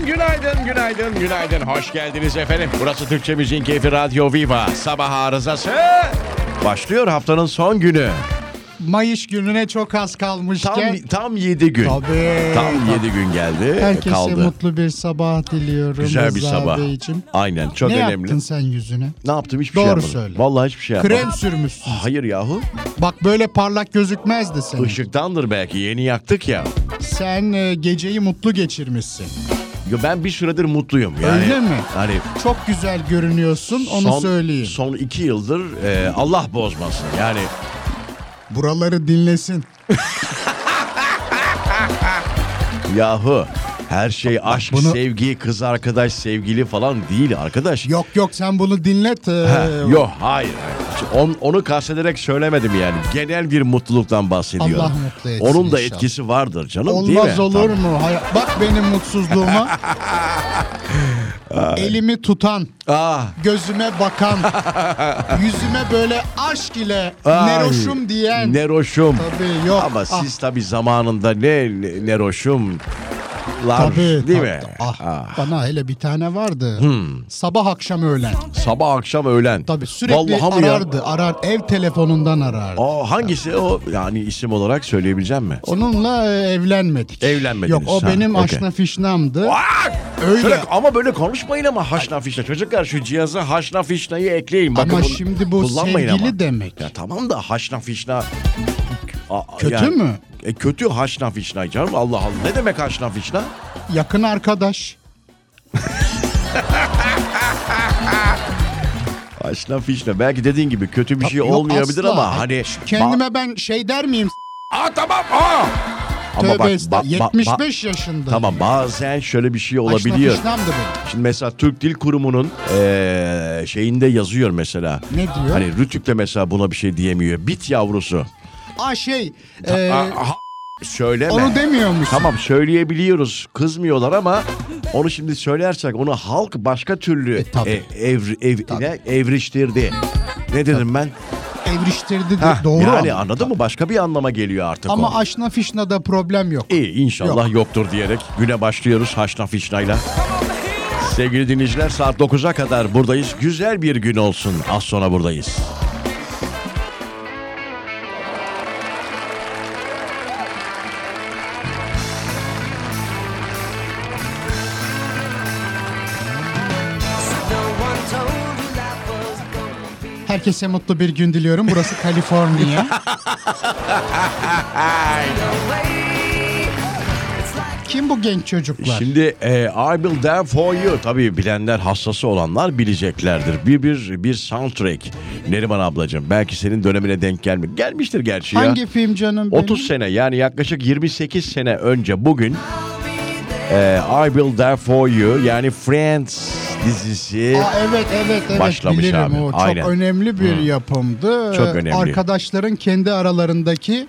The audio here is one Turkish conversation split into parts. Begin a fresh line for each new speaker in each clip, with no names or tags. Günaydın, günaydın, günaydın. Hoş geldiniz efendim. Burası Türkçe Müziğin Keyfi Radyo Viva. Sabah arızası başlıyor haftanın son günü.
Mayış gününe çok az
Tam
kalmışken
tam 7 gün.
Tabii.
Tam 7 gün geldi.
herkese
kaldı.
mutlu bir sabah diliyorum.
Güzel bir
Rıza
sabah.
Beyciğim.
Aynen çok
ne
önemli.
yaptın sen yüzüne?
Ne yaptım hiçbir
Doğru
şey yapmadım.
söyle.
Vallahi hiçbir şey yapmadım.
Krem sürmüşsün.
Hayır yahu.
Bak böyle parlak gözükmezdi senin.
Işıktandır belki. Yeni yaktık ya.
Sen e, geceyi mutlu geçirmişsin.
Ya ben bir süredir mutluyum. Yani,
Öyle mi?
Hani
Çok güzel görünüyorsun onu
son,
söyleyeyim.
son iki yıldır e, Allah bozmasın. Yani
Buraları dinlesin.
yahu her şey aşk,
bunu-
sevgi, kız arkadaş, sevgili falan değil arkadaş.
Yok yok sen bunu dinlet. e,
Ha, yok hayır. hayır. On- onu kastederek söylemedim yani. Genel bir mutluluktan bahsediyorum.
Allah mutlu etsin
Onun da
inşallah.
etkisi vardır canım değil mi?
Olmaz olur
Tabii.
mu? Hay- Bak benim mutsuzluğuma. Elimi tutan,
Ah,
gözüme bakan, yüzüme böyle aşk ile
ay,
neroşum diyen.
Neroşum.
Tabii yok.
Ama
Ah,
siz tabii zamanında ne ne- neroşum lar
tabii,
değil
tabii.
mi?
Ah,
Ah. Hmm.
Bana hele bir tane vardı. Sabah akşam öğlen.
Sabah akşam öğlen.
Tabii sürekli
Vallahi mi ya?
arardı. Arar ev telefonundan arardı.
Aa, hangisi o yani isim olarak söyleyebileceğim mi?
Onunla e, evlenmedik.
Evlenmediniz,
Yok o
ha,
benim
okey.
aşna fişnamdı.
Aa!
Öyle.
Şöyle- ama böyle konuşmayın ama haşna fişna. Çocuklar şu cihaza haşna fişnayı ekleyin. Bakın
Ama
bunu
şimdi bu
kullanmayın
sevgili
ama.
demek.
Ya tamam da haşna fişna. Aa,
Kötü mü?
E, kötü haşna fişna canım Allah Allah. Ne demek haşna fişna?
Yakın arkadaş.
Haşna fişna. Belki dediğin gibi kötü bir şey
Yok,
olmayabilir
asla.
ama hani.
Kendime ben şey der miyim?
Aa tamam aa.
Tövbe
bak-
estağ-
ba- ba-
75 yaşında.
Tamam bazen şöyle bir şey olabiliyor.
Aşna fişnamdı benim.
Şimdi mesela Türk Dil Kurumu'nun eee, şeyinde yazıyor mesela.
Ne diyor?
Hani Rütük de mesela buna bir şey diyemiyor. Bit yavrusu.
Aa şey. e,
Aa, ha- söyleme.
onu demiyor musun?
Tamam söyleyebiliyoruz. Kızmıyorlar ama onu şimdi söylersek onu halk başka türlü
E, tabii.
e, evri- ev- ne? evriştirdi. Ne dedim ben?
Evriştirdi. de-
Hah,
doğru.
yani
ama.
anladın mı? Başka bir anlama geliyor artık o.
Ama aşna fişnada problem yok.
İyi inşallah yoktur diyerek güne başlıyoruz Haşna Fişna'yla. Sevgili dinleyiciler saat 9'a kadar buradayız. Güzel bir gün olsun. Az sonra buradayız.
Herkese mutlu bir gün diliyorum. Burası Kaliforniya. Kim bu genç çocuklar?
Şimdi e, I Will There For You tabii bilenler hastası olanlar bileceklerdir. Bir bir bir soundtrack. Neriman ablacığım belki senin dönemine denk gelmiş. Gelmiştir gerçi ya. şey
Hangi film canım benim?
30 sene yani yaklaşık 28 sene önce bugün e, I Will There For You yani Friends dizisi.
Aa, evet evet evet
Başlamış
bilirim
abi,
o. Çok
aynen.
önemli bir yapımdı.
Çok
Ee,
önemli.
Arkadaşların kendi aralarındaki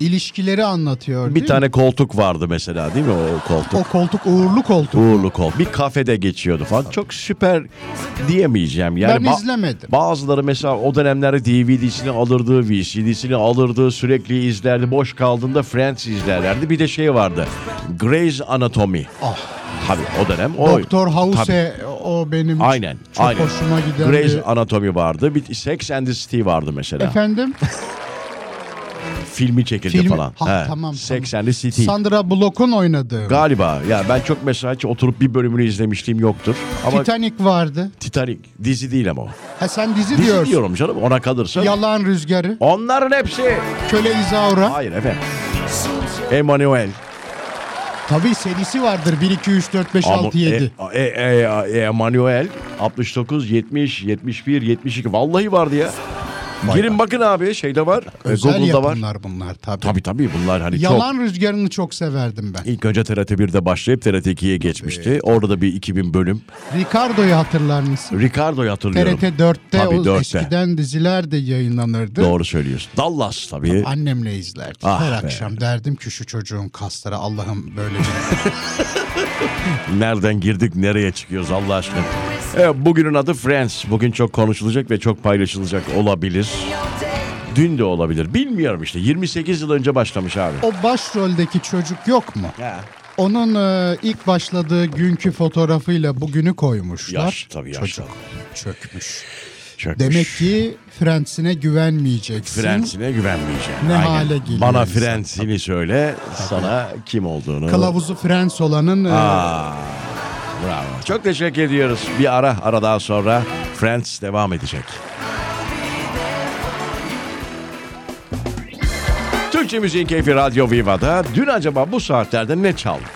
ilişkileri anlatıyor.
Bir
değil mi?
tane koltuk vardı mesela değil mi o koltuk?
o koltuk uğurlu koltuk.
Uğurlu koltuk. Bir kafede geçiyordu falan. Çok süper diyemeyeceğim. Yani
Ben
ba-
izlemedim.
Bazıları mesela o dönemlerde DVD'sini alırdı, VCD'sini alırdı, sürekli izlerdi. Boş kaldığında Friends izlerlerdi. Bir de şey vardı. Grey's Anatomy.
Ah.
Tabii o dönem o.
Doktor House e, o benim
Aynen.
çok
aynen.
hoşuma giden
Grey's
bir-
Anatomy vardı. Bir Sex and the City vardı mesela.
Efendim?
Filmi çekildi
Filmi-
falan.
Ha,
He.
tamam,
Sex
tamam.
and the City.
Sandra Bullock'un oynadığı.
Galiba. Ya ben çok mesela hiç oturup bir bölümünü izlemişliğim yoktur. Ama
Titanic vardı.
Titanic dizi değil ama o.
Ha sen dizi,
Dizi
diyorsun.
diyorum canım ona kalırsa.
Yalan Rüzgarı,
Onların hepsi.
Köle İzaura.
Hayır efendim. Emanuel.
Tabii serisi vardır 1 2 3 4 5
Ama-
6 7.
E, e, e, e, Emanuel 69, 70, 71, 72. Vallahi vardı ya. Girin bakın abi şeyde var. e,
Özel
Google'da var.
yapımlar bunlar tabii.
Tabii tabii bunlar hani çok.
Yalan Rüzgarı'nı çok severdim ben.
İlk önce TRT 1'de başlayıp TRT 2'ye geçmişti. Orada da bir 2000 bölüm.
Ricardo'yu hatırlar mısın?
Ricardo'yu hatırlıyorum.
TRT 4'te
Tabii,
o
4'te.
eskiden diziler de yayınlanırdı.
Doğru söylüyorsun. Dallas tabii.
Annemle izlerdik.
Ah
Her
be.
akşam derdim ki şu çocuğun kasları Allah'ım böyle bir...
Nereden girdik nereye çıkıyoruz Allah aşkına. Evet, bugünün adı Friends. Bugün çok konuşulacak ve çok paylaşılacak olabilir. Dün de olabilir. Bilmiyorum işte. 28 yıl önce başlamış abi.
o başroldeki çocuk yok mu?
Ya.
Onun e, ilk başladığı günkü fotoğrafıyla bugünü koymuşlar.
Yaş, tabii yaşlı.
Çocuk çökmüş.
Çökmüş.
Demek ki Friends'ine güvenmeyeceksin.
Frensine güvenmeyeceğim.
Ne hale geliyor
Bana
insan.
Frensini söyle, sana kim olduğunu.
Kılavuzu Friends olanın e,
Bravo. Çok teşekkür ediyoruz. Bir ara, ara daha sonra Friends devam edecek. Türkçe Müziğin Keyfi Radyo Viva'da dün acaba bu saatlerde ne çaldık?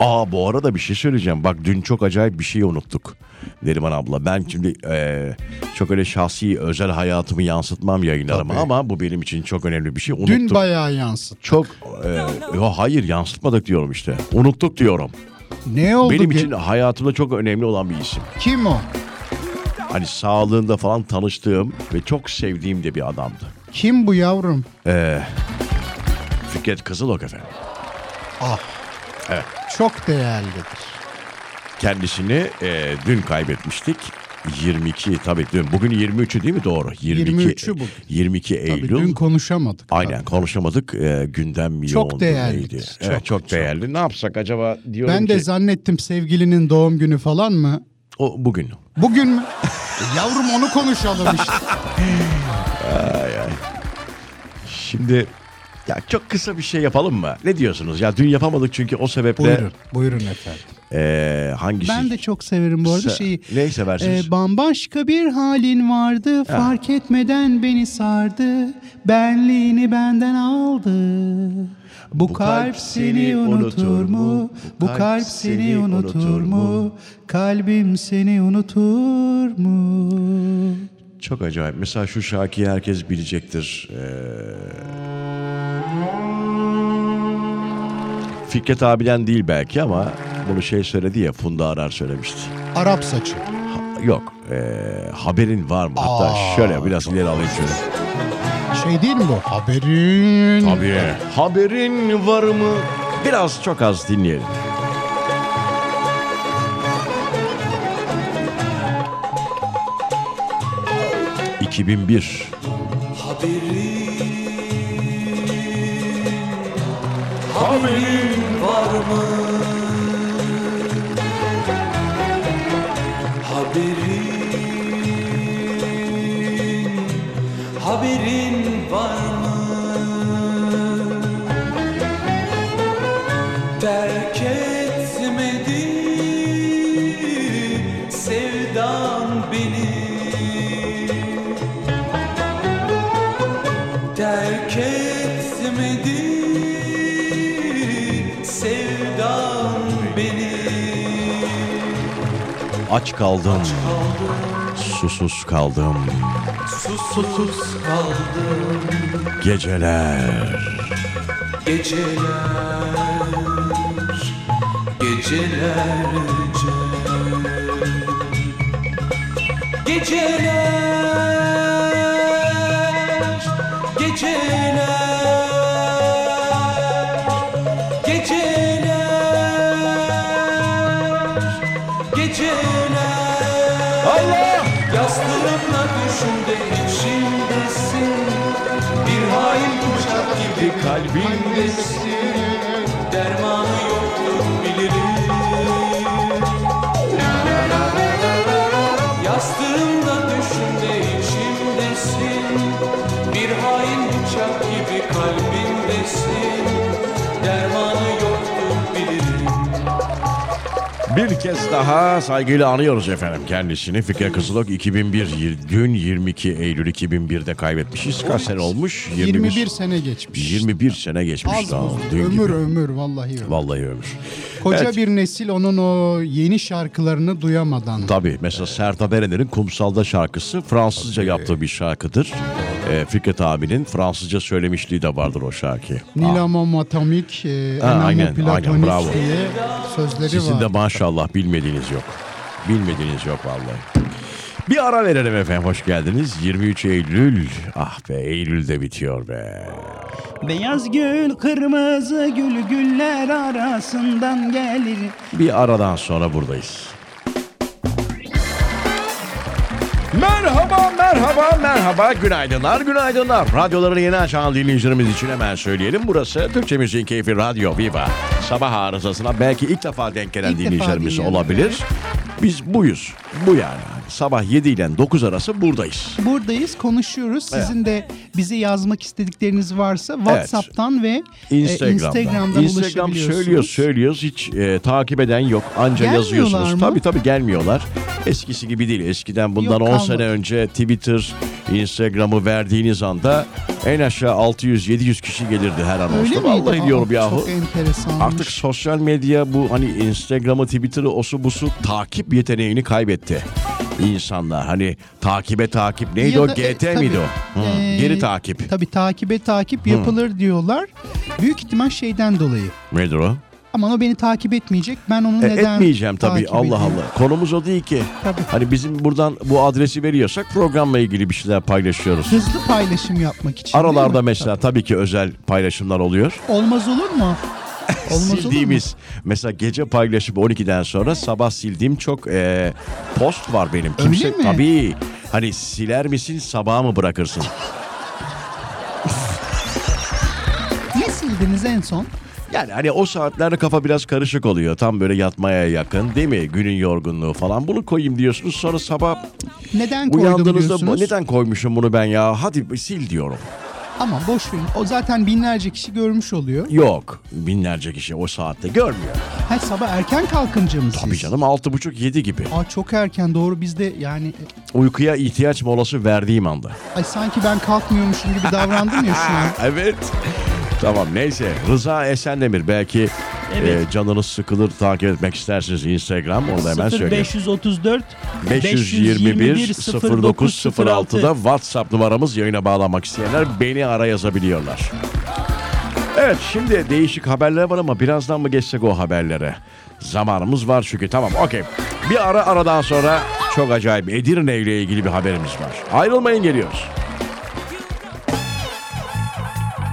Aa bu arada bir şey söyleyeceğim. Bak dün çok acayip bir şey unuttuk. Neriman abla ben şimdi eee, çok öyle şahsi özel hayatımı yansıtmam yayınlarıma
Tabii.
ama bu benim için çok önemli bir şey. Unuttum.
dün bayağı yansıt.
çok eee, yo, hayır yansıtmadık diyorum işte. Unuttuk diyorum.
Ne oldu?
Benim
ki?
için hayatımda çok önemli olan bir isim.
Kim o?
Hani sağlığında falan tanıştığım ve çok sevdiğim de bir adamdı.
Kim bu yavrum?
Fikret Kızılok efendim.
Ah.
Evet.
Çok değerlidir.
Kendisini e, dün kaybetmiştik. 22 tabii dün. Bugün 23'ü değil mi doğru? 22,
23'ü bugün.
22
Tabii
Eylül.
dün konuşamadık.
Aynen konuşamadık. E, gündem
Çok
yoğundu,
değerlidir.
neydi?
Çok,
Evet, çok, değerli. Ne yapsak acaba diyorum
Ben
ki.
de zannettim sevgilinin doğum günü falan mı?
o, bugün.
Bugün mü? E, Yavrum onu konuşalım işte.
Şimdi ya çok kısa bir şey yapalım mı? Ne diyorsunuz? Ya dün yapamadık çünkü o sebeple
buyurun, buyurun efendim.
e, hangisi?
Ben de çok severim bu arada
Se-
şeyi.
Neyi seversiniz?
Ee, bambaşka bir halin vardı, fark etmeden beni sardı, benliğini benden aldı. Bu, kalp, seni unutur mu? Bu kalp seni unutur mu? Kalbim seni unutur mu?
Çok acayip. Mesela şu şarkıyı herkes bilecektir. Ee, Fikret abiden değil belki ama bunu şey söyledi ya Funda Arar söylemişti.
Arap saçı.
Ha- yok. ee, haberin var mı? Hatta şöyle biraz ileri alayım şöyle.
Şey değil mi bu? Haberin.
Tabii. Haberin var mı? Biraz çok az dinleyelim. ...2001...
Haberin var mı? Haberin Haberin var mı? Terk etmedi sevdan beni terk etmedi sevdan beni
Aç kaldım. Susuz kaldım.
susuz kaldı
Geceler.
geceler gecelerce geceler geceler geceler geceler
Allah!
Yastığımla düşümde içimdesin Bir hain bıçak gibi kalbimdesin Dermanı yoktur bilirim Yastığımda düşümde içimdesin Bir hain bıçak gibi kalbimdesin Dermanı yoktur bilirim
Bir kez daha saygıyla anıyoruz efendim kendisini. Fikret Kızılok 2001, yir- dün 22 Eylül 2001'de kaybetmişiz. Kaç sene olmuş?
21 sene geçmiş.
21 sene geçmiş
Az
daha.
buz.
Dün
Ömür
gibi.
ömür vallahi ömür.
Vallahi ömür.
Koca
Evet.
bir nesil onun o yeni şarkılarını duyamadan.
Tabii mesela Sertab Erener'in Kumsal'da şarkısı Fransızca yaptığı bir şarkıdır. Ee, Fikret abinin Fransızca söylemişliği de vardır o şarkıyı.
Nilamo Matamik, e, Enamo
Ah. aynen,
Platonik
aynen, bravo.
diye sözleri
Sizin
var.
de maşallah bilmediğiniz yok. Bilmediğiniz yok vallahi. Bir ara verelim efendim hoş geldiniz. 23 Eylül. Ah be Eylül de bitiyor be.
Beyaz gül, kırmızı gül, güller arasından gelir.
Bir aradan sonra buradayız. Merhaba merhaba. Merhaba, merhaba, günaydınlar, günaydınlar. Radyolarını yeni açan dinleyicilerimiz için hemen söyleyelim. Burası Türkçe Müziğin Keyfi Radyo Viva. Sabah arızasına belki ilk defa denk gelen
İlk defa
dinleyicilerimiz
dinliyorum.
olabilir. Biz buyuz, bu yani. Sabah 7 ile 9 arası buradayız.
Buradayız, konuşuyoruz. Sizin de bize yazmak istedikleriniz varsa WhatsApp'tan ve e,
Instagram'dan.
Instagram'dan
Instagram
ulaşabiliyorsunuz.
söylüyor söylüyor hiç e, takip eden yok. Anca
Gelmiyorlar
yazıyorsunuz.
mı?
Tabii tabii gelmiyorlar. Eskisi gibi değil. Eskiden bundan
Yok,
10
kalmadı.
sene önce Twitter, Instagram'ı verdiğiniz anda en aşağı 600-700 kişi gelirdi her an
Öyle miydi?
Vallahi
Aa,
diyorum yahu.
Çok enteresanmış.
Artık sosyal medya bu hani Instagram'ı, Twitter'ı, osu busu takip yeteneğini kaybetti. İnsanlar hani takibe takip neydi
Ya
o
da-
GT
e, tabii.
miydi o? Hı,
Ee,
Geri takip.
Tabii takibe takip yapılır diyorlar. Büyük ihtimal şeyden dolayı.
Nedir o?
Aman o beni takip etmeyecek. Ben onu
E,
neden
etmeyeceğim tabii
takip
Allah
edeyim?
Allah. Konumuz o değil ki.
Tabii.
Hani bizim buradan bu adresi veriyorsak programla ilgili bir şeyler paylaşıyoruz.
Hızlı paylaşım yapmak için. değil
Aralarda
mi?
mesela tabii ki özel paylaşımlar oluyor.
Tabii. Olmaz olur mu? Olmaz
Sildiğimiz mesela gece paylaşıp 12'den sonra sabah sildiğim çok e, post var benim. Kimse
mi?
tabii hani siler misin sabaha mı bırakırsın?
olur mu? Ne sildiniz en son?
Yani hani o saatlerde kafa biraz karışık oluyor. Tam böyle yatmaya yakın değil mi? Günün yorgunluğu falan. Bunu koyayım diyorsunuz. Sonra sabah
Neden koydum
uyandığınızda bu-
diyorsunuz?
neden koymuşum bunu ben ya? Hadi sil diyorum.
Ama boş verin. O zaten binlerce kişi görmüş oluyor.
Yok. Binlerce kişi o saatte görmüyor.
Her sabah erken kalkıncı mısınız?
Tabii canım 6.30-7 gibi.
Aa, çok erken doğru bizde yani
Uykuya ihtiyaç molası verdiğim anda.
ay sanki ben kalkmıyormuşum gibi davrandım ya şu an.
Evet. Tamam neyse. Rıza Esendemir belki e, canınız sıkılır takip etmek istersiniz Instagram. Onu da hemen söyleyeyim.
534
521 0906'da WhatsApp numaramız yayına bağlanmak isteyenler beni ara yazabiliyorlar. Evet şimdi değişik haberler var ama birazdan mı geçsek o haberlere? Zamanımız var çünkü tamam okey. Bir ara aradan sonra çok acayip Edirne ile ilgili bir haberimiz var. Ayrılmayın geliyoruz.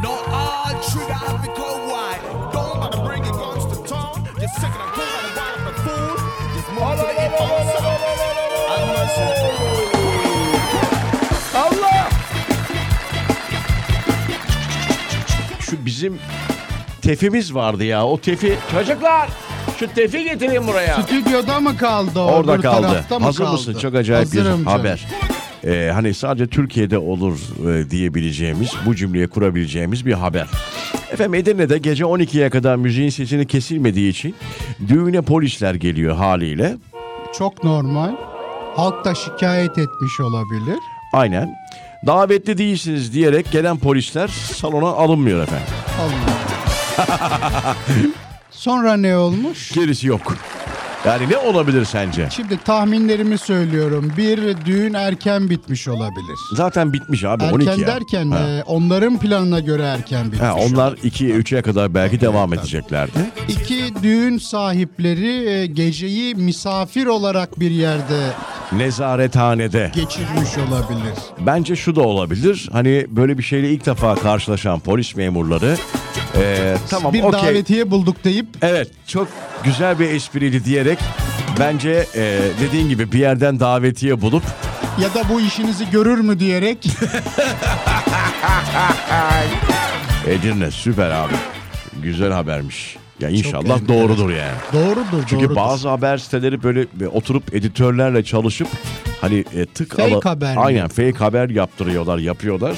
No odd trigger, I be cold wide. Don't about to bring your guns to town. You're sick of the cool and wild the fool. Just move to the I'm Allah!
Şu bizim tefimiz vardı ya o tefi. Çocuklar şu tefi getirin buraya.
Stüdyoda mı kaldı? o,
Orada
öbür
kaldı.
tarafta mı
Hazır
kaldı?
mısın? Çok acayip bir
Hazırım canım.
haber. Ee, hani sadece Türkiye'de olur e, diyebileceğimiz, bu cümleye kurabileceğimiz bir haber. Efendim Edirne'de gece 12'ye kadar müziğin sesini kesilmediği için düğüne polisler geliyor haliyle.
Çok normal. Halk da şikayet etmiş olabilir.
Aynen. Davetli değilsiniz diyerek gelen polisler salona alınmıyor efendim.
Allah. Sonra ne olmuş?
Gerisi yok. Yani ne olabilir sence?
Şimdi tahminlerimi söylüyorum. Bir düğün erken bitmiş olabilir.
Zaten bitmiş abi
Erken
12 ya.
derken
Ha.
e, onların planına göre erken bitmiş.
Ha, onlar 2'ye 3'e kadar belki devam edeceklerdi.
İki düğün sahipleri e, geceyi misafir olarak bir yerde
Nezarethanede.
geçirmiş olabilir.
Bence şu da olabilir. Hani böyle bir şeyle ilk defa karşılaşan polis memurları eee, tamam
bir
okey.
davetiye bulduk deyip
Evet çok güzel bir espriydi diyerek bence eee, dediğin gibi bir yerden davetiye bulup
ya da bu işinizi görür mü diyerek
Edirne süper abi. Güzel habermiş. Ya inşallah
enteresan.
doğrudur yani.
doğrudur
Çünkü
doğrudur.
bazı haber siteleri böyle bir oturup editörlerle çalışıp hani e, tık
Fake haber mi?
Aynen fake haber yaptırıyorlar, yapıyorlar.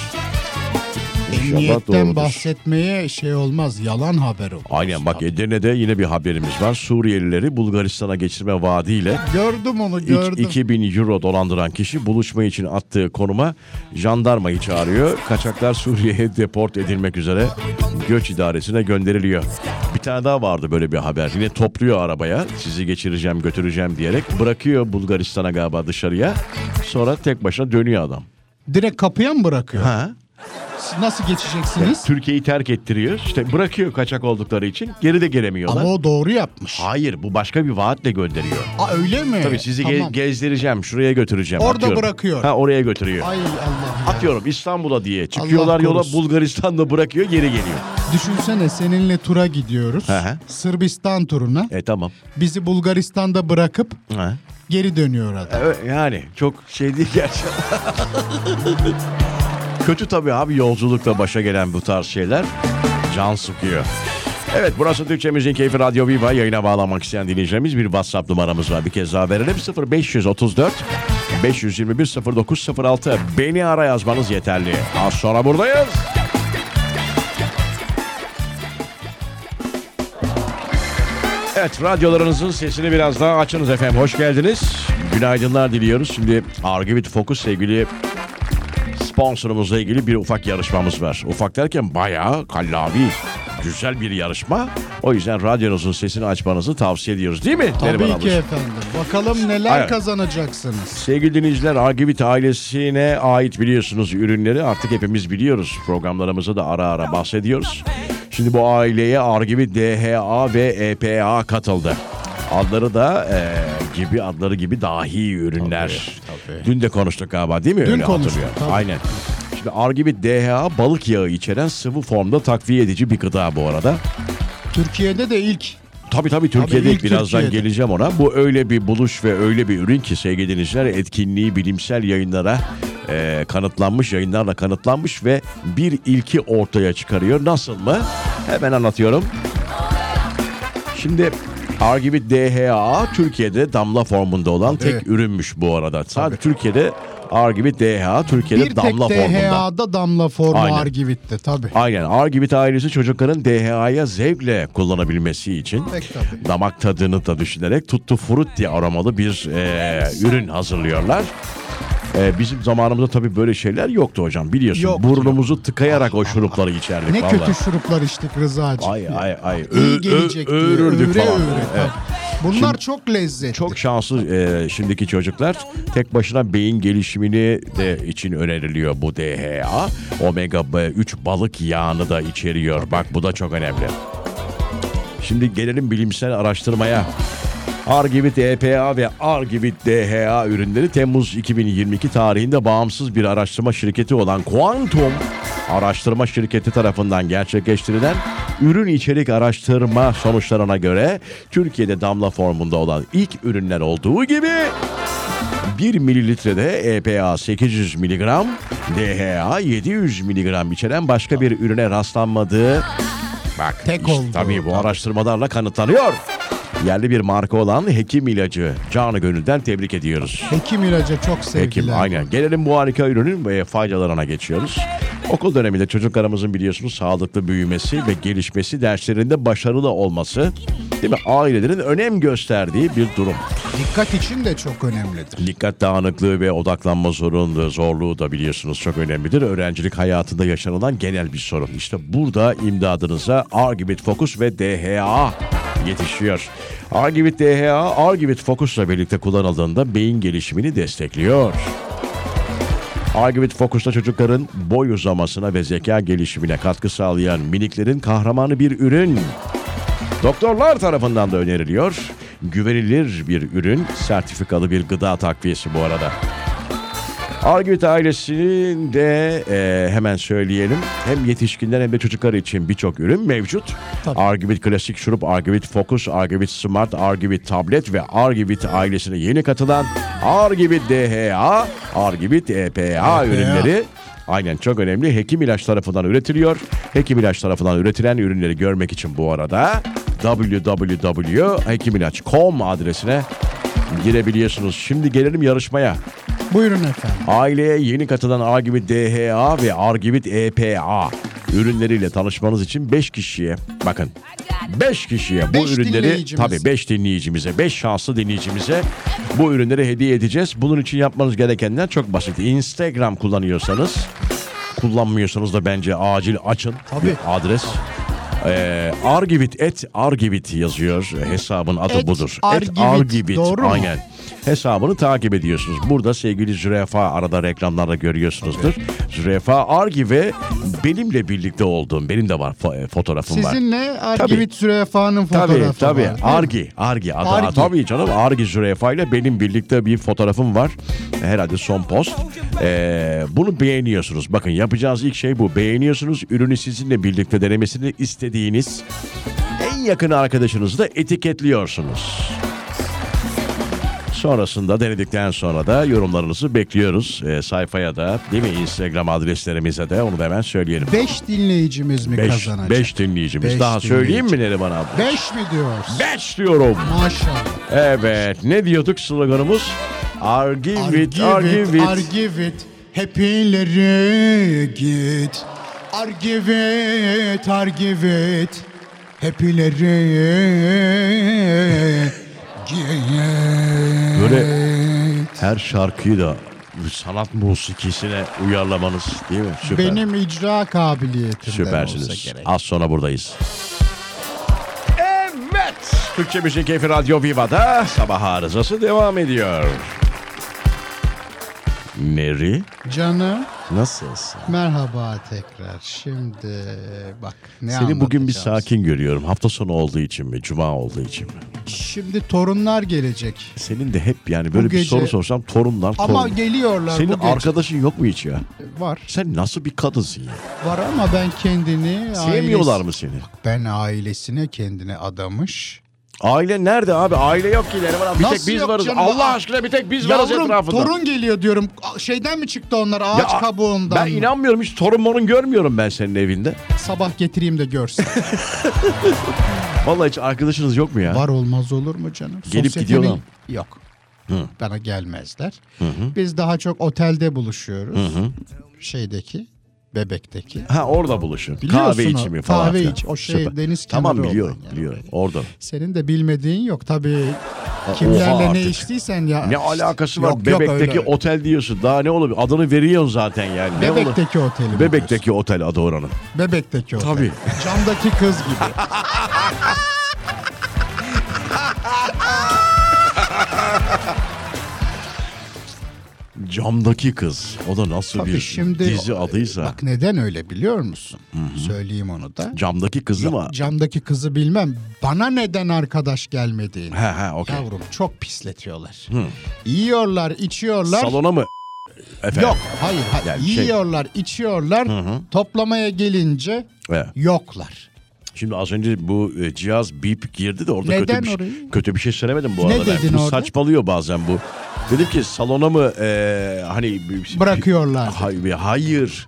Emniyetten
doğrudur.
bahsetmeye şey olmaz yalan haber olur.
Aynen bak Edirne'de yine bir haberimiz var. Suriyelileri Bulgaristan'a geçirme vaadiyle
Gördüm onu
ik-
gördüm.
2000 euro dolandıran kişi buluşma için attığı konuma jandarmayı çağırıyor. Kaçaklar Suriye'ye deport edilmek üzere göç idaresine gönderiliyor. Bir tane daha vardı böyle bir haber. Yine topluyor arabaya sizi geçireceğim götüreceğim diyerek bırakıyor Bulgaristan'a galiba dışarıya. Sonra tek başına dönüyor adam.
Direkt kapıya mı bırakıyor?
Ha?
Siz Nasıl geçeceksiniz?
Türkiye'yi terk ettiriyor. İşte bırakıyor kaçak oldukları için. Geri de gelemiyorlar.
Ama o doğru yapmış.
Hayır bu başka bir vaatle gönderiyor.
Aa öyle mi?
Tabii sizi ge-
Tamam.
gezdireceğim, şuraya götüreceğim.
Orada bırakıyor.
Ha oraya götürüyor.
Ay Allah ya.
Atıyorum İstanbul'a diye. Çıkıyorlar yola
korusun.
Bulgaristan'da bırakıyor geri geliyor.
Düşünsene seninle tura gidiyoruz.
Hı hı.
Sırbistan turuna.
E tamam.
Bizi Bulgaristan'da bırakıp
Ha.
Geri dönüyor adam.
Evet, yani çok şey değil gerçi. Kötü tabii abi yolculukla başa gelen bu tarz şeyler can sıkıyor. Evet burası Türkçemizin Keyfi Radyo Viva. Yayına bağlamak isteyen dinleyicilerimiz bir WhatsApp numaramız var. Bir kez daha verelim 0534 521 0906 beni ara yazmanız yeterli. Az sonra buradayız. Evet radyolarınızın sesini biraz daha açınız efendim. Hoş geldiniz. Günaydınlar diliyoruz. Şimdi Argivit Focus sevgili sponsorumuzla ilgili bir ufak yarışmamız var. Ufak derken bayağı kallavi, güzel bir yarışma. O yüzden radyonuzun sesini açmanızı tavsiye ediyoruz değil mi? Neriman
Tabii ki
ablacığım?
efendim. Bakalım neler
Aynen.
kazanacaksınız.
Sevgili dinleyiciler Argivit ailesine ait biliyorsunuz ürünleri artık hepimiz biliyoruz. Programlarımızda da ara ara bahsediyoruz. Şimdi bu aileye Argivit DHA ve EPA katıldı. Adları da e, gibi adları gibi dahi ürünler.
Tabii, tabii.
Dün de konuştuk galiba değil mi?
Dün
Öyle
konuştuk,
hatırlıyorum.
tabii.
Aynen. Şimdi Argivit DHA balık yağı içeren sıvı formda takviye edici bir gıda bu arada.
Türkiye'de de ilk
Tabii tabii Türkiye'de
ilk
birazdan
Türkiye'de.
geleceğim ona. Bu öyle bir buluş ve öyle bir ürün ki sevgili dinleyiciler etkinliği bilimsel yayınlara e, kanıtlanmış, yayınlarla kanıtlanmış ve bir ilki ortaya çıkarıyor. Nasıl mı? Hemen anlatıyorum. Şimdi R gibi DHA Türkiye'de damla formunda olan tek
Evet.
ürünmüş bu arada. Sadece Türkiye'de R gibi DHA Türkiye'de
bir
damla
tek
formunda.
DHA'da damla formu
Aynen.
Argivit'te tabii.
Aynen. Argivit ailesi çocukların DHA'ya zevkle kullanabilmesi için
Pek tabii.
damak tadını da düşünerek tuttu frutti aromalı bir e, ürün hazırlıyorlar. E, bizim zamanımızda tabii böyle şeyler yoktu hocam biliyorsun.
Yok.
Burnumuzu tıkayarak o şurupları içerdik
Ne
vallahi.
kötü şuruplar içtik Rıza'cığım.
Ay ay ay. Ö-
İyi
ö-
gelecek diye.
öğürürdük
Öğre
falan.
öğre,
Evet.
tabii. Bunlar çok lezzetli.
Çok şanslı e, şimdiki çocuklar. Tek başına beyin gelişimini de için öneriliyor bu DHA. Omega 3 balık yağını da içeriyor. Bak bu da çok önemli. Şimdi gelelim bilimsel araştırmaya. Argivit EPA ve Argivit DHA ürünleri Temmuz 2022 tarihinde bağımsız bir araştırma şirketi olan Quantum Araştırma Şirketi tarafından gerçekleştirilen ürün içerik araştırma sonuçlarına göre Türkiye'de damla formunda olan ilk ürünler olduğu gibi 1 mililitrede E EPA 800 mg, DHA 700 mg içeren başka bir ürüne rastlanmadığı bak
Tek oldu.
tabii bu araştırmalarla kanıtlanıyor. Yerli bir marka olan Hekim ilacı canı gönülden tebrik ediyoruz.
Hekim ilaca çok sevgiler.
Hekim aynen. Gelelim bu harika ürünün e, faydalarına geçiyoruz. Okul döneminde çocuklarımızın biliyorsunuz sağlıklı büyümesi ve gelişmesi derslerinde başarılı olması değil mi? Ailelerin önem gösterdiği bir durum.
Dikkat için de çok önemlidir.
Dikkat dağınıklığı ve odaklanma zorunlu, zorluğu da biliyorsunuz çok önemlidir. Öğrencilik hayatında yaşanılan genel bir sorun. İşte burada imdadınıza Argivit Focus ve DHA yetişiyor. Argivit DHA, Argivit Focus'la birlikte kullanıldığında beyin gelişimini destekliyor. Argivit Focus'ta çocukların boy uzamasına ve zeka gelişimine katkı sağlayan miniklerin kahramanı bir ürün. Doktorlar tarafından da öneriliyor. Güvenilir bir ürün, sertifikalı bir gıda takviyesi bu arada. Argüt ailesinin de e, hemen söyleyelim. Hem yetişkinler hem de çocuklar için birçok ürün mevcut. Argüvit klasik şurup, Argüvit Focus, Argüvit Smart, Argüvit tablet ve Argüvit ailesine yeni katılan Argüvit DHA, Argüvit EPA ürünleri Aynen çok önemli. Hekim ilaç tarafından üretiliyor. Hekim ilaç tarafından üretilen ürünleri görmek için bu arada www.hekimilaç.com adresine girebiliyorsunuz. Şimdi gelelim yarışmaya.
Buyurun efendim.
Aileye yeni katılan Argivit DHA ve Argivit EPA ürünleriyle tanışmanız için 5 kişiye bakın 5 kişiye bu
Beş
ürünleri
dinleyicimiz.
tabii 5 dinleyicimize 5 şanslı dinleyicimize bu ürünleri hediye edeceğiz. Bunun için yapmanız gerekenler çok basit. Instagram kullanıyorsanız kullanmıyorsanız da bence acil açın
Tabii.
bir adres. Ee, Argivit et Argivit yazıyor hesabın adı
Et
budur.
Argivit,
et Argivit
doğru mu?
aynen. Hesabını takip ediyorsunuz. Burada sevgili Zürefa arada reklamlarda görüyorsunuzdur. Zürefa Argi ve benimle birlikte olduğum benim de var fo- e, fotoğrafım var.
Sizinle Argivit Zürefa'nın
Tabii
fotoğrafı
tabii.
var.
Argi, Argi. Adı,
Argi.
Tabii canım Argi Zürefa ile benim birlikte bir fotoğrafım var. Herhalde son post. Ee, bunu beğeniyorsunuz. Bakın yapacağınız ilk şey bu. Beğeniyorsunuz. Ürünü sizinle birlikte denemesini istediğiniz en yakın arkadaşınızı da etiketliyorsunuz. Sonrasında denedikten sonra da yorumlarınızı bekliyoruz. Ee, sayfaya da değil mi Instagram adreslerimize de onu da hemen söyleyelim.
5 dinleyicimiz mi
5
kazanacak? 5
beş dinleyicimiz.
Beş
Daha söyleyeyim mi Neriman abla?
5 mi diyoruz?
5 diyorum.
Maşallah.
Evet. Ne diyorduk sloganımız? Argivit, Argivit.
Argivit, Argivit, hep ileri git. Argivit, Argivit, hep ileri git.
Böyle- Her şarkıyı da sanat musikisine uyarlamanız değil mi? Süper.
Benim icra kabiliyetimden olsa
Süpersiniz.
gerek.
Az sonra buradayız. Evet. Türkçe Müzik Keyfi Radyo Viva'da sabah arızası devam ediyor. Neri
Canım
nasılsın?
merhaba tekrar. Şimdi bak ne
Seni bugün bir
anlatacağım
sakin görüyorum. Hafta sonu olduğu için mi? Cuma olduğu için mi?
size. Şimdi torunlar gelecek.
Senin de hep yani böyle bir
gece-
soru sorsam torunlar
Ama
torun.
geliyorlar
Senin
bu gece.
arkadaşın yok mu hiç ya?
Var.
Sen nasıl bir kadınsın ya?
Var ama ben kendini...
Sevmiyorlar
ailesi-
mı seni?
Ben ailesine kendini adamış.
Aile nerede abi? Aile yok ki. Neriman abi. Bir
Nasıl
tek biz
yok
varız.
canım?
Allah
Aa,
aşkına bir tek biz varız
Yavrum
etrafında.
torun geliyor diyorum. A- Şeyden mi çıktı onlar ağaç
Ya,
kabuğundan?
Ben
mı?
inanmıyorum hiç torun morun görmüyorum ben senin evinde.
Sabah getireyim de görsün.
Vallahi hiç arkadaşınız yok mu ya?
Var olmaz olur mu canım?
Gelip
Sosyete
gidiyorlar
mi-
mı?
Yok. Bana gelmezler. Biz daha çok otelde buluşuyoruz. Şeydeki, bebekteki.
Ha orada buluşun.
Biliyorsun
Kahve
o,
içimi falan.
kahve
filan.
iç- o şey, deniz
Tamam
kenarı
biliyorum
olan yani.
biliyorum. Orada.
Senin de bilmediğin yok tabii. Kimlerle
oha
ne
artık.
içtiysen ya.
Ne alakası var?
Yok, yok,
Bebekteki
öyle.
otel diyorsun. Daha ne olabilir? Adını veriyorsun zaten yani. Ne olur?
Bebekteki oteli.
Bebekteki otel adı oranın.
Bebekteki otel.
Tabii.
Camdaki kız gibi.
Camdaki kız. O da nasıl
Tabii
bir
şimdi
dizi adıysa.
Bak neden öyle biliyor musun? Söyleyeyim onu da.
Camdaki kızı mı?
Camdaki kızı bilmem. Bana neden arkadaş gelmediğini.
He he okey.
Yavrum çok pisletiyorlar. Yiyorlar, içiyorlar.
Salona mı? Efendim.
Yok, hayır. hayır.
Yani şey-
Yiyorlar, içiyorlar. Toplamaya gelince
Evet.
yoklar.
Şimdi az önce bu e, cihaz bip girdi de orada
Neden
kötü bir, şey-
orayı?
kötü bir şey söylemedim bu
Ne
arada. ben.
dedin
bu
orada?
saçmalıyor bazen bu. Dedim ki salona mı e, hani bir-
Bırakıyorlar.
Hayır, hayır.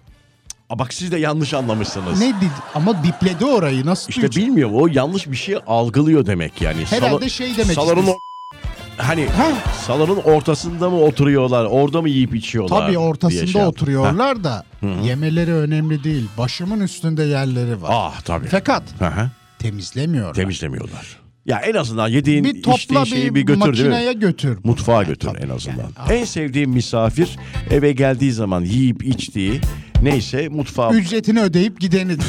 Aa, bak siz de yanlış anlamışsınız.
Ne dedi? Ama bipledi orayı. Nasıl
İşte
duyacak?
bilmiyorum o yanlış bir şey algılıyor demek yani.
Herhalde
Salon-
şey demek
Salonun
istedim.
o- hani
Ha?
salonun ortasında mı oturuyorlar? Orada mı yiyip içiyorlar?
Tabii
diye
ortasında
şey yaptım. Ha.
oturuyorlar da yemeleri önemli değil. Başımın üstünde yerleri var.
Ah tabii.
Fakat
Hı hı.
temizlemiyorlar.
Temizlemiyorlar. Ya en azından yediğin
bir topla
içtiğin
bir,
şeyi bir götür değil mi?
makineye götür. bunu.
Mutfağa
Yani
götür
tabii
en azından.
yani. ah.
en sevdiğim misafir eve geldiği zaman yiyip içtiği neyse mutfağa.
Ücretini ödeyip gidenidir.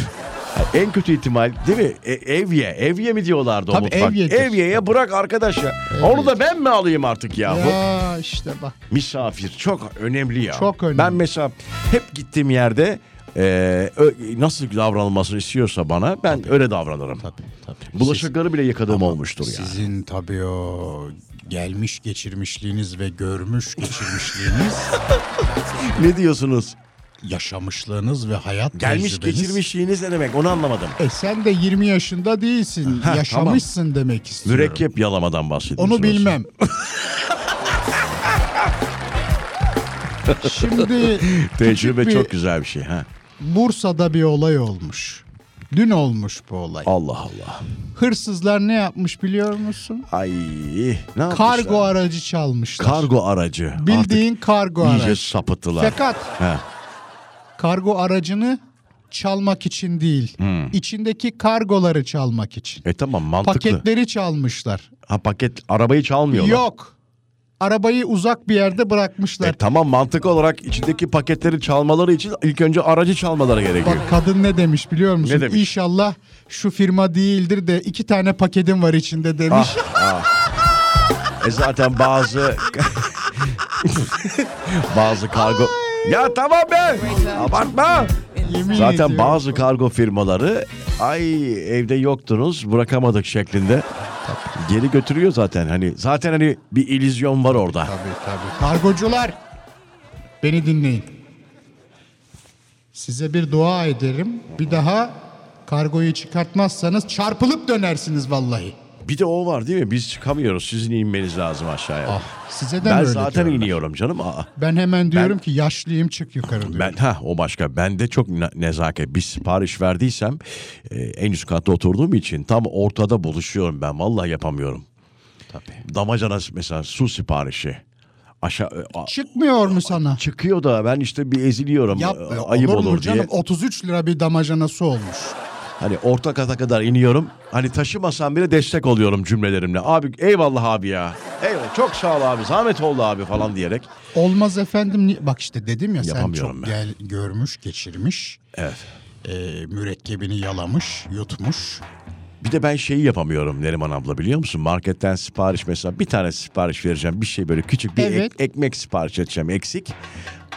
en kötü ihtimal değil mi? E- evye. Evye mi diyorlardı o
Tabii
mutfak?
evyedir.
Evye'ye bırak arkadaş ya. Onu da ben mi alayım artık ya? Bu
ya işte bak.
misafir çok önemli ya.
Çok önemli.
Ben mesela hep gittiğim yerde e, ö- nasıl davranılmasını istiyorsa bana ben öyle davranırım. Bulaşıkları bile yıkadığım olmuştur yani.
Sizin tabii o gelmiş geçirmişliğiniz ve görmüş geçirmişliğiniz,
Ne diyorsunuz?
yaşamışlığınız ve hayat
Gelmiş
tecrübeniz.
geçirmişliğiniz ne demek onu anlamadım.
E sen de 20 yaşında değilsin.
Ha,
yaşamışsın demek istiyorum.
Mürekkep yalamadan bahsediyorsunuz.
Onu bilmem. Şimdi
Tecrübe
küçük bir-
çok güzel bir şey. Ha.
Bursa'da bir olay olmuş. Dün olmuş bu olay.
Allah Allah.
Hırsızlar ne yapmış biliyor musun?
Ay. Ne yapmışlar?
Kargo aracı çalmışlar.
Kargo aracı.
Bildiğin kargo
Artık iyice
aracı.
sapıttılar.
Fakat
He.
kargo aracını çalmak için değil. İçindeki kargoları çalmak için.
E tamam mantıklı.
Paketleri çalmışlar.
Ha paket arabayı çalmıyorlar.
Yok. Arabayı uzak bir yerde bırakmışlar.
E tamam mantık olarak içindeki paketleri çalmaları için ilk önce aracı çalmaları gerekiyor.
Bak kadın ne demiş biliyor musun?
Ne demiş?
İnşallah şu firma değildir de iki tane paketim var içinde demiş.
Ah, E zaten bazı bazı kargo ya tamam be. Abartma.
Yemin
Zaten
ediyorum.
bazı kargo firmaları ay evde yoktunuz bırakamadık şeklinde geri götürüyor zaten hani zaten hani bir illüzyon var orada.
Tabii tabii. Kargocular beni dinleyin. Size bir dua ederim. Bir daha kargoyu çıkartmazsanız çarpılıp dönersiniz vallahi.
Bir de o var değil mi? Biz çıkamıyoruz. Sizin inmeniz lazım aşağıya.
Ah, size de mi
ben
öyle
zaten
diyorlar?
iniyorum canım. Aa,
Ben hemen diyorum ki yaşlıyım çık yukarı diyorum.
ben ha o başka. Ben de çok ne- nezaket. Bir sipariş verdiysem e, en üst katta oturduğum için tam ortada buluşuyorum ben. Vallahi yapamıyorum. Tabii. Damacana mesela su siparişi. Aşağı a-
Çıkmıyor mu sana?
çıkıyor da ben işte bir eziliyorum.
Yap,
e, ayıp olur,
olur mu
diye.
canım? 33 lira bir damacana su olmuş.
Hani orta kata kadar iniyorum. Hani taşımasam bile destek oluyorum cümlelerimle. Abi eyvallah abi ya. Eyvallah çok sağ ol abi. Zahmet oldu abi falan diyerek.
Olmaz efendim. ni- Bak işte dedim ya sen
Yapamıyorum
çok
ben.
gel, görmüş, geçirmiş.
Evet.
Ee, mürekkebini yalamış, yutmuş.
Bir de ben şeyi yapamıyorum Neriman abla biliyor musun? Marketten sipariş mesela bir tane sipariş vereceğim. Bir şey böyle küçük bir ek-
Evet.
ekmek sipariş edeceğim eksik.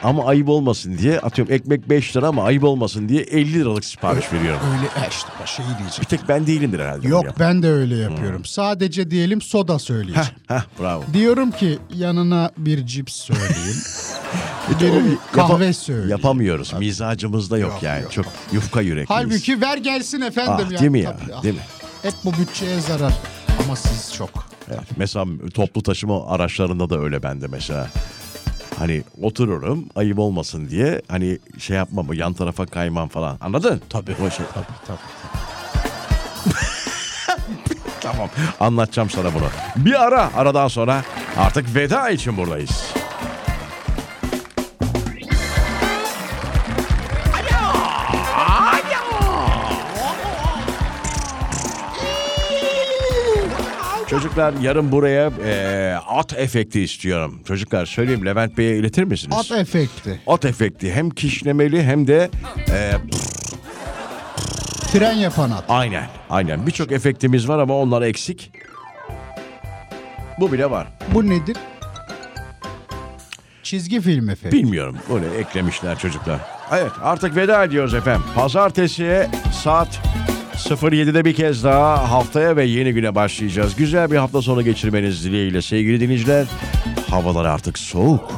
Ama ayıp olmasın diye atıyorum ekmek 5 lira ama ayıp olmasın diye 50 liralık sipariş veriyorum.
Öyle e işte bak şey
Bir
diyecek.
tek ben değilimdir herhalde. bunu
Yok
yapan.
ben de öyle yapıyorum. Sadece diyelim soda söyleyeceğim.
Hmm. Heh, bravo.
Diyorum ki yanına bir cips söyleyeyim.
Bir de
Biri
o-
bir kahve
yapa-
söyleyeyim.
Yapamıyoruz. Mizacımızda yok,
Yok,
yani.
yok.
Çok yufka yürekliyiz.
Halbuki ver gelsin efendim
Ah,
ya.
değil mi ya?
Tabii, ah.
Değil mi?
Hep bu bütçeye zarar. Ama siz çok.
Evet, Mesela toplu taşıma araçlarında da öyle bende mesela. Hani otururum ayıp olmasın diye hani şey yapmam yan tarafa kaymam falan anladın? Tabii. O şey. tamam anlatacağım sana bunu. Bir ara aradan sonra artık veda için buradayız. Çocuklar yarın buraya eee, at efekti istiyorum. Çocuklar söyleyeyim Levent Bey'e iletir misiniz?
At efekti.
At efekti hem kişnemeli hem de eee,
Tren yapan at.
aynen aynen birçok efektimiz var ama onlar eksik. Bu bile var.
Bu nedir? Çizgi film efekti.
Bilmiyorum. Böyle eklemişler çocuklar. Evet artık veda ediyoruz efendim. Pazartesiye saat 07'de bir kez daha haftaya ve yeni güne başlayacağız. Güzel bir hafta sonu geçirmeniz dileğiyle sevgili dinleyiciler. Havalar artık soğuk.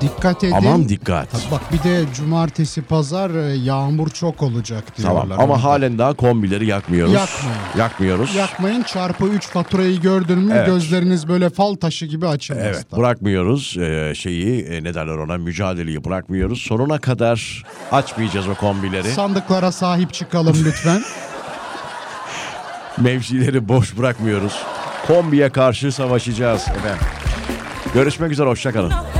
Dikkat edin.
Aman dikkat.
Ha, Bak bir de cumartesi pazar e, yağmur çok olacak diyorlar.
Tamam ama
Onu-
halen daha kombileri yakmıyoruz.
Yakmayın.
Yakmıyoruz.
Yakmayın çarpı 3 faturayı gördün mü
Evet.
gözleriniz böyle fal taşı gibi açılmaz.
Evet
da.
bırakmıyoruz Ee, şeyi e, ne derler ona mücadeleyi bırakmıyoruz. Sonuna kadar açmayacağız o kombileri.
Sandıklara sahip çıkalım lütfen.
Mevzileri boş bırakmıyoruz. Kombiye karşı savaşacağız efendim. Görüşmek üzere hoşçakalın.
No.